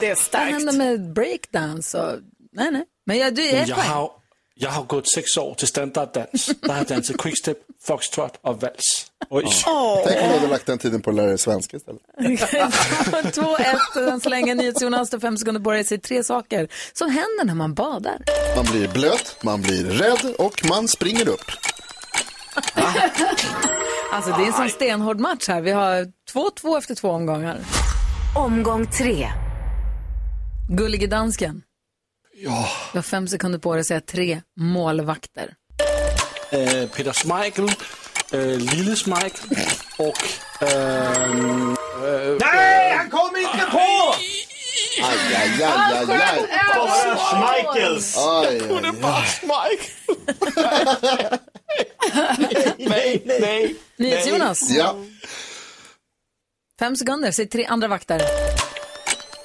Speaker 1: det är starkt. Vad händer med breakdance? Och... Nej, nej. Men jag, du är
Speaker 14: Men
Speaker 1: ett
Speaker 14: jeg
Speaker 1: poäng.
Speaker 14: har, jo- jeg har gået seks år til standarddans. Der har jeg danset quickstep, foxtrot og vals. Oj.
Speaker 3: Tänk om du hade lagt den tiden på att lära dig svenska istället.
Speaker 1: 2-1 än så länge. NyhetsJonas tar fem sekunder på dig. Säger tre saker som händer när man badar.
Speaker 3: Man blir blöt, man blir rädd och man springer upp.
Speaker 1: Alltså det är en sån stenhård match här. Vi har 2-2 efter två omgångar. Omgång tre. Gullige dansken.
Speaker 14: Ja.
Speaker 1: Du har fem sekunder på dig att säga tre målvakter.
Speaker 14: Øh, Peter Schmeichel, øh, Lille Schmeichel og... Øh, øh,
Speaker 4: Nej, han kom inte på!
Speaker 3: Aj, aj, aj, aj, aj.
Speaker 4: Bara Schmeichels.
Speaker 3: Aj, aj,
Speaker 14: Det var Schmeichel.
Speaker 4: Nej, nej.
Speaker 1: NyhetsJonas.
Speaker 3: Ja.
Speaker 1: Fem sekunder, säg tre andra vakter.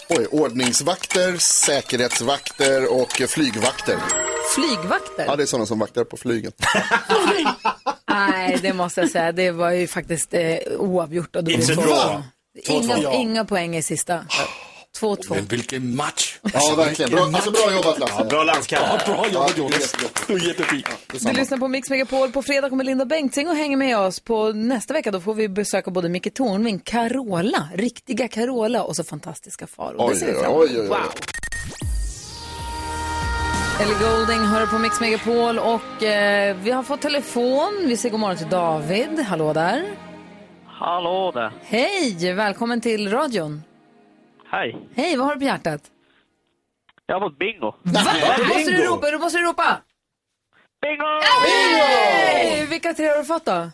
Speaker 3: Oj, ordningsvakter, säkerhetsvakter och eh, flygvakter.
Speaker 1: Flygvakter?
Speaker 3: Ja, det är sådana som vaktar på flygen.
Speaker 1: Nej, det måste jag säga. Det var ju faktiskt eh, oavgjort. Och det
Speaker 14: Inte
Speaker 1: blev
Speaker 14: bra.
Speaker 1: två.
Speaker 14: Två, två.
Speaker 1: Inga, inga poäng i sista. 2-2.
Speaker 14: Men hvilken match.
Speaker 3: Ja, verkligen. Bra, alltså, bra jobbat, Lasse.
Speaker 4: Ja, bra landskamp.
Speaker 14: Ja, bra jobbat,
Speaker 3: Ja,
Speaker 14: Jonas. Du är jättefin.
Speaker 1: Du lyssnar på Mix Megapol. På fredag kommer Linda Bengtzing och hänger med oss. På nästa vecka då får vi besöka både Micke Tornving, Carola, riktiga Carola och så fantastiska Farao. Det
Speaker 3: Oj,
Speaker 1: ser vi
Speaker 3: oj,
Speaker 1: fram emot.
Speaker 3: oj, oj. oj.
Speaker 1: Ellie Golding hör på Mix Megapol och eh, vi har fått telefon. Vi säger god morgon till David. Hallå där.
Speaker 17: Hallå där.
Speaker 1: Hej, välkommen till radion.
Speaker 17: Hej.
Speaker 1: Hej, vad har du på hjärtat?
Speaker 17: Jag har fått bingo.
Speaker 1: Då måste du ropa, då måste du ropa.
Speaker 17: Bingo!
Speaker 1: Hey! Vilka tre har du fått då?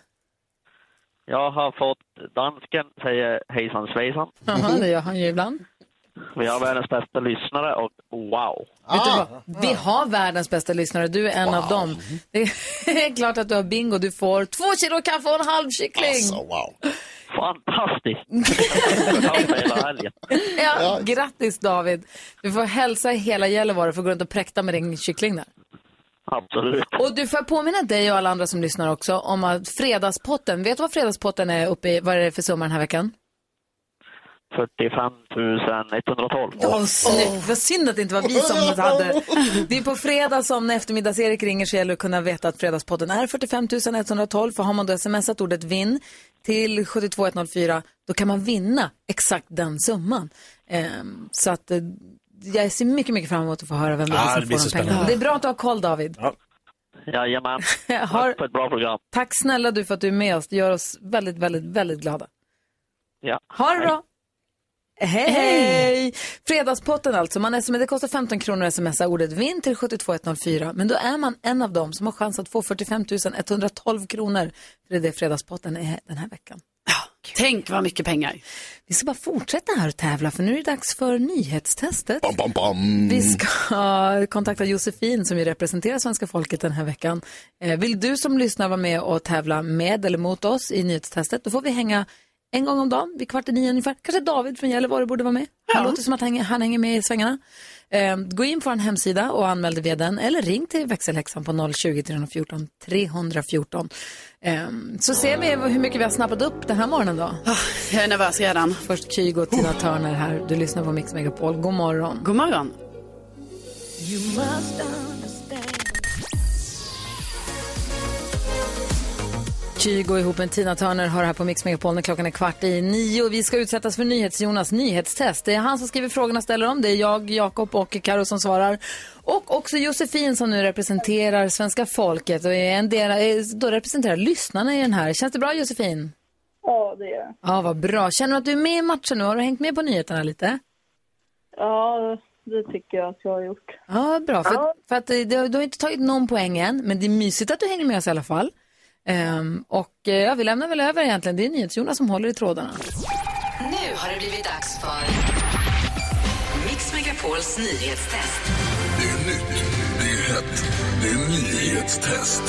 Speaker 17: Jag har fått dansken säger hejsan svejsan.
Speaker 1: Jaha, det gör han ju ibland.
Speaker 17: Vi har världens bästa lyssnare och wow.
Speaker 1: Vet du vad? Vi har världens bästa lyssnare, du är en av dem. Det är klart att du har bingo, du får två kilo kaffe och en halv kyckling.
Speaker 3: wow.
Speaker 17: Fantastiskt! hela helgen.
Speaker 1: Ja, grattis David. Du får hälsa hela Gällivare för att gå runt och präkta med din kyckling där.
Speaker 17: Absolut.
Speaker 1: Och du får påminna dig och alla andra som lyssnar också om att fredagspotten, vet du vad fredagspotten är uppe i, vad är det för summa den här veckan?
Speaker 17: 45 112.
Speaker 1: Åh, snyggt. Vad synd att det inte var vi som hade. Det är på fredag som när eftermiddags-Erik ringer så gäller det att kunna veta att fredagspodden är 45 112. För har man då smsat ordet vinn till 72104 då kan man vinna exakt den summan. Ehm, så att eh, jag ser mycket, mycket fram emot att få höra vem det
Speaker 17: Ja,
Speaker 1: är som
Speaker 17: det blir
Speaker 1: får
Speaker 17: så
Speaker 1: de pengarna.
Speaker 17: spännande.
Speaker 1: Det är bra att du har koll David.
Speaker 17: Jajamän.
Speaker 1: Har-
Speaker 17: Tack för ett bra program.
Speaker 1: Tack snälla du för att du är med oss. Det gör oss väldigt, väldigt, väldigt glada.
Speaker 17: Ja.
Speaker 1: Ha det bra! Hej! hej. Fredagspotten alltså. Man sm- det kostar 15 kronor att smsa ordet vinn till 72104. Men då är man en av dem som har chans att få 45 112 kronor. För det är det Fredagspotten är den här veckan.
Speaker 5: Tänk vad mycket pengar.
Speaker 1: Vi ska bara fortsätta här och tävla för nu är det dags för nyhetstestet.
Speaker 3: Bam, bam, bam.
Speaker 1: Vi ska kontakta Josefin som ju representerar svenska folket den här veckan. Eh, Vill du som lyssnar vara med och tävla med eller mot oss i nyhetstestet, då får vi hänga en gång om dagen, vid kvart i nio ungefär. Kanske David från Gällivare borde vara med. Han låter som att han, han hänger med i svängarna. Eh, Gå in på vår hemsida och anmäl dig via den eller ring till växelhäxan på 020-314 314. Eh, Så ser vi hur mycket vi har snappat upp den här morgonen då.
Speaker 5: Jag är nervös redan.
Speaker 1: Först Kygo och Tina Turner här. Du lyssnar på Mix Megapol. God morgon.
Speaker 5: God morgon.
Speaker 1: Kygo ihop med Tina Turner har här på Mix Megapol när klockan är kvart i nio. Vi ska utsättas för NyhetsJonas nyhetstest. Det är han som skriver frågorna och ställer dem. Det är jag, Jakob och Karo som svarar. Och också Josefin som nu representerar svenska folket och är en del, är- då representerar lyssnarna i den här. Känns det bra Josefin?
Speaker 13: Ja, det gör jag.
Speaker 1: Ja, vad bra. Känner du att du är med i matchen nu? Har du hängt med på nyheterna lite?
Speaker 13: Ja, det tycker jag att jag har gjort.
Speaker 1: Ja, bra. För, för att eh, du, du har inte tagit någon poäng än, men det är mysigt att du hänger med oss i alla fall. Ehm, och eh, ja, vi lämnar väl över egentligen. Det är NyhetsJonas som håller i trådarna.
Speaker 18: Nu har det blivit dags för Mix Megapols nyhetstest.
Speaker 19: Det är nytt, det är hett, det är nyhetstest.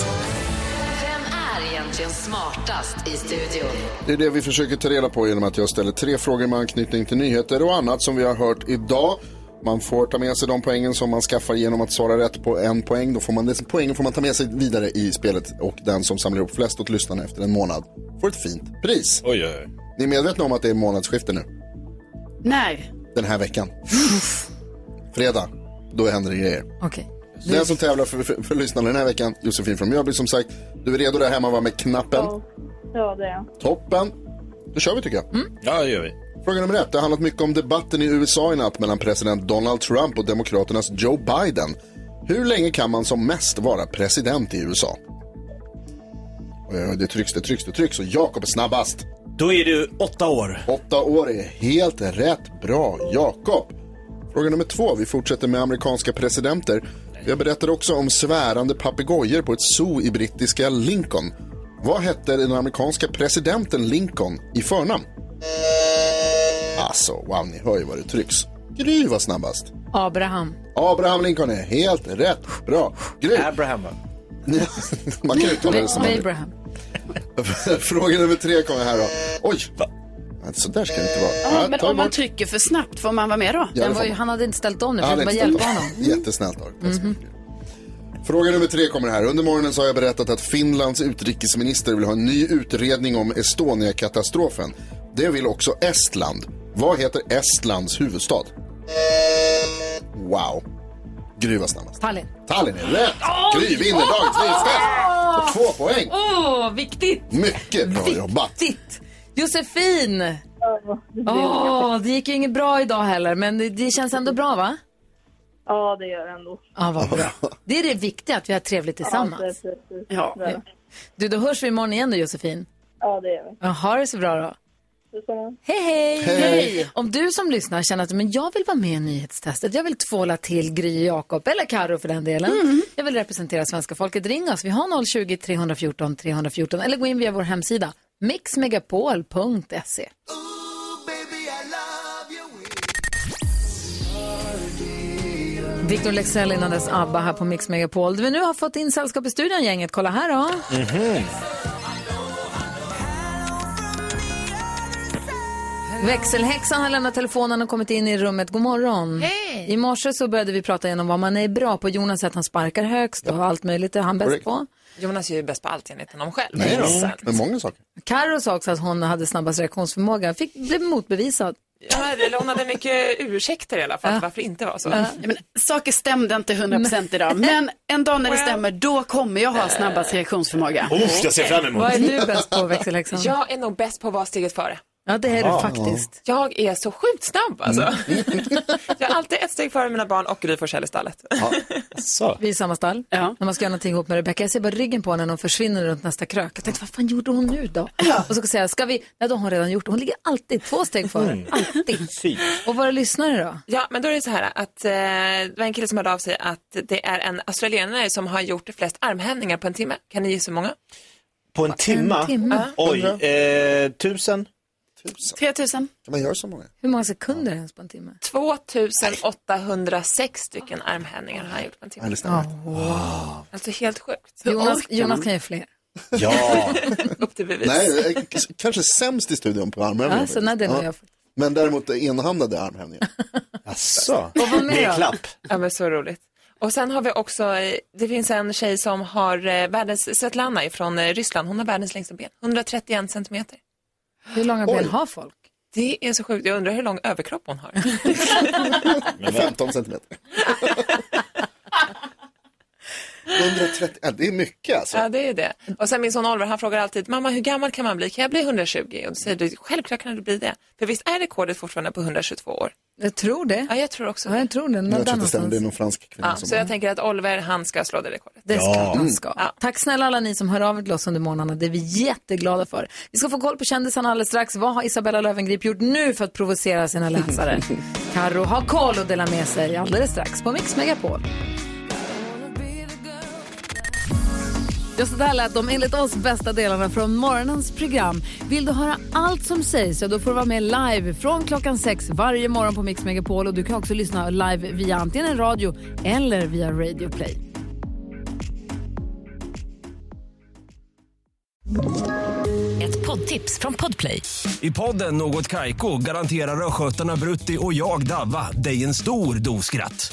Speaker 18: Vem är egentligen smartast i studion?
Speaker 3: Det är det vi försöker ta reda på genom att jag ställer tre frågor med anknytning till nyheter och annat som vi har hört idag. Man får ta med sig de poängen som man skaffar genom att svara rätt på en poäng. Då får man, den poängen får man ta med sig vidare i spelet och den som samlar ihop flest åt lyssnarna efter en månad får ett fint pris.
Speaker 4: Oj, oj, oj.
Speaker 3: Ni är medvetna om att det är månadsskifte nu?
Speaker 5: Nej.
Speaker 3: Den här veckan. Fredag, då händer det grejer.
Speaker 1: Okej.
Speaker 3: Den som tävlar för, för, för lyssnarna den här veckan, Josefin från Mjölby som sagt. Du är redo där hemma va med knappen?
Speaker 13: Ja, det är jag.
Speaker 3: Toppen. Då kör vi tycker jag.
Speaker 4: Ja, det gör vi.
Speaker 3: Fråga nummer ett. Det har handlat mycket om debatten i USA i natt mellan president Donald Trump och demokraternas Joe Biden. Hur länge kan man som mest vara president i USA? Oj, oj, oj, eh, Det trycks, det trycks, det trycks och Jakob är snabbast.
Speaker 4: Då är du åtta år.
Speaker 3: Åtta år är helt rätt. Bra, Jakob. Fråga nummer två. Vi fortsätter med amerikanska presidenter. Jag berättade också om svärande papegojor på ett zoo i brittiska Lincoln. Vad hette den amerikanska presidenten Lincoln i förnamn? Alltså, wow, ni hör ju vad det trycks. Gry var snabbast.
Speaker 1: Abraham.
Speaker 3: Abraham Lincoln är helt rätt. Bra. Gry.
Speaker 4: Abraham, va?
Speaker 3: Man kan uttala det som man vill.
Speaker 1: Abraham.
Speaker 3: Fråga nummer tre kommer här då. Oj! Så där ska det inte vara.
Speaker 5: Ja,
Speaker 3: Ja,
Speaker 5: men
Speaker 3: ta
Speaker 5: om man
Speaker 3: bort.
Speaker 5: trycker för snabbt, får man vara med då?
Speaker 3: Ja, det får man.
Speaker 1: han hade inte ställt om
Speaker 3: Ja, det är inte snällt. Jättesnällt av dig. Fråga nummer tre kommer här. Under morgonen så har jag berättat att Finlands utrikesminister vill ha en ny utredning om Estonia-katastrofen. Det vill också Estland. Vad heter Estlands huvudstad? Wow. Gry var snabbast.
Speaker 1: Tallinn.
Speaker 3: Tallinn är rätt. Gry vinner dagens vinstfest. För två poäng.
Speaker 1: Åh, viktigt!
Speaker 3: Mycket bra jobbat.
Speaker 1: Viktigt! Josefin!
Speaker 13: blir
Speaker 1: Åh,
Speaker 13: mycket.
Speaker 1: det gick ju inget bra idag heller, men det, det känns ändå bra va?
Speaker 13: Ja, det gör jag ändå.
Speaker 1: Ja, vad bra. Det är det viktiga, att vi har trevligt tillsammans.
Speaker 13: Ja, precis.
Speaker 1: Ja.
Speaker 13: Det är jag.
Speaker 1: Du, då hörs vi imorgon igen då Josefin.
Speaker 13: Ja, det gör vi.
Speaker 1: Ja, Ha det så bra då.
Speaker 13: Detsamma.
Speaker 1: Hej, hej!
Speaker 13: Hej.
Speaker 1: Om du som lyssnar känner att men jag vill vara med i nyhetstestet, jag vill tvåla till Gry och Jakob, eller Karo för den delen. Jag vill representera svenska folket, ring oss. Vi har 020 314 314 eller gå in via vår hemsida mixmegapol.se. Victor Lexell innan dess ABBA här på Mix Megapol. Vi nu har fått in sällskap i studion gänget, kolla här då. Växelhäxan har lämnat telefonen och kommit in i rummet. God morgon.
Speaker 20: Hej.
Speaker 1: I morse så började vi prata igenom vad man är bra på. Jonas säger att han sparkar högst och allt möjligt är han bäst på.
Speaker 20: Jonas är ju bäst på allt enligt honom själv.
Speaker 3: Nej då, Mm. men många saker.
Speaker 1: Carro sa också att hon hade snabbast reaktionsförmåga. Fick, blev motbevisad.
Speaker 20: Ja, det- hon hade mycket ursäkter i alla fall
Speaker 5: Ja.
Speaker 20: varför det inte var så.
Speaker 5: Ja, men, saker stämde inte 100% idag, men en dag när det stämmer, då kommer jag ha snabbast reaktionsförmåga.
Speaker 11: Uff, jag ser fram emot. Vad är du
Speaker 1: bäst på, växelhäxan?
Speaker 20: Jag är nog bäst på att vara steget före.
Speaker 1: Ja, det är du Ja. faktiskt.
Speaker 20: Jag är så sjukt snabb alltså. jag är alltid ett steg före mina barn och Gry Forssell i stallet.
Speaker 1: Vi är i samma stall. När man ska göra någonting ihop med Rebecca. Jag ser bara ryggen på henne när hon försvinner runt nästa krök. Jag tänkte, vad fan gjorde hon nu då? Och så ska jag säga, ska vi? Nej, då har hon redan gjort det. Hon ligger alltid två
Speaker 20: Mm.
Speaker 1: steg före. Alltid. Och våra lyssnare då?
Speaker 20: Ja, men då är det så här att eh, det var en kille som hörde av sig att det är en australienare som har gjort flest armhävningar på en timme. Kan ni gissa hur många?
Speaker 11: På en timma?
Speaker 20: timme.
Speaker 11: Oj, eh, tusen?
Speaker 20: 3000.
Speaker 3: Kan man göra så många?
Speaker 1: Hur många sekunder ens på en timme?
Speaker 20: 2806 stycken armhävningar har han gjort på en timme.
Speaker 3: Wow.
Speaker 20: Alltså helt sjukt.
Speaker 1: Jonas, Jonas kan ju fler.
Speaker 3: Ja.
Speaker 20: Upp till bevis.
Speaker 3: Nej, eh, k- kanske sämst i studion på armhävningar.
Speaker 1: Ja, så nej, det har jag fått.
Speaker 3: Men däremot enhandade armhävningar.
Speaker 11: Jaså?
Speaker 20: Och vad mer Med då? klapp. Ja, men så roligt. Och sen har vi också, eh, det finns en tjej som har eh, världens, Svetlana från Ryssland, hon har världens längsta ben, 131 centimeter.
Speaker 1: Hur långa
Speaker 20: Oj.
Speaker 1: ben har folk?
Speaker 20: Det är så sjukt, jag undrar hur lång överkropp hon har.
Speaker 3: 15 centimeter. 130, ja, det är mycket alltså.
Speaker 20: Ja, det är det. Och sen min son Oliver, han frågar alltid, mamma hur gammal kan man bli? Kan jag bli 120? Och då säger du, självklart kan du bli det. För visst är rekordet fortfarande på 122 år?
Speaker 1: Jag tror det.
Speaker 20: Ja, jag tror också
Speaker 1: ja, jag tror det. Någon
Speaker 3: jag tror att det stämmer,
Speaker 1: annanstans.
Speaker 3: det är någon fransk kvinna
Speaker 20: Ja,
Speaker 3: som...
Speaker 20: så jag tänker att Oliver, han ska slå det rekordet.
Speaker 1: Det ska
Speaker 3: Ja.
Speaker 1: man ska. Tack snälla alla ni som hör av er till oss under morgnarna. Det är vi jätteglada för. Vi ska få koll på kändisarna alldeles strax. Vad har Isabella Löwengrip gjort nu för att provocera sina läsare? Karo har koll och delar med sig alldeles strax på Mix Megapol. Ja, så där lät de enligt oss bästa delarna från morgonens program. Vill du höra allt som sägs, ja, då får du vara med live från klockan sex varje morgon på Mix Megapol. Och du kan också lyssna live via antingen radio eller via Radio Play.
Speaker 13: Ett poddtips från Podplay.
Speaker 4: I podden Något Kaiko garanterar östgötarna Brutti och jag, Davva, dig en stor dos skratt.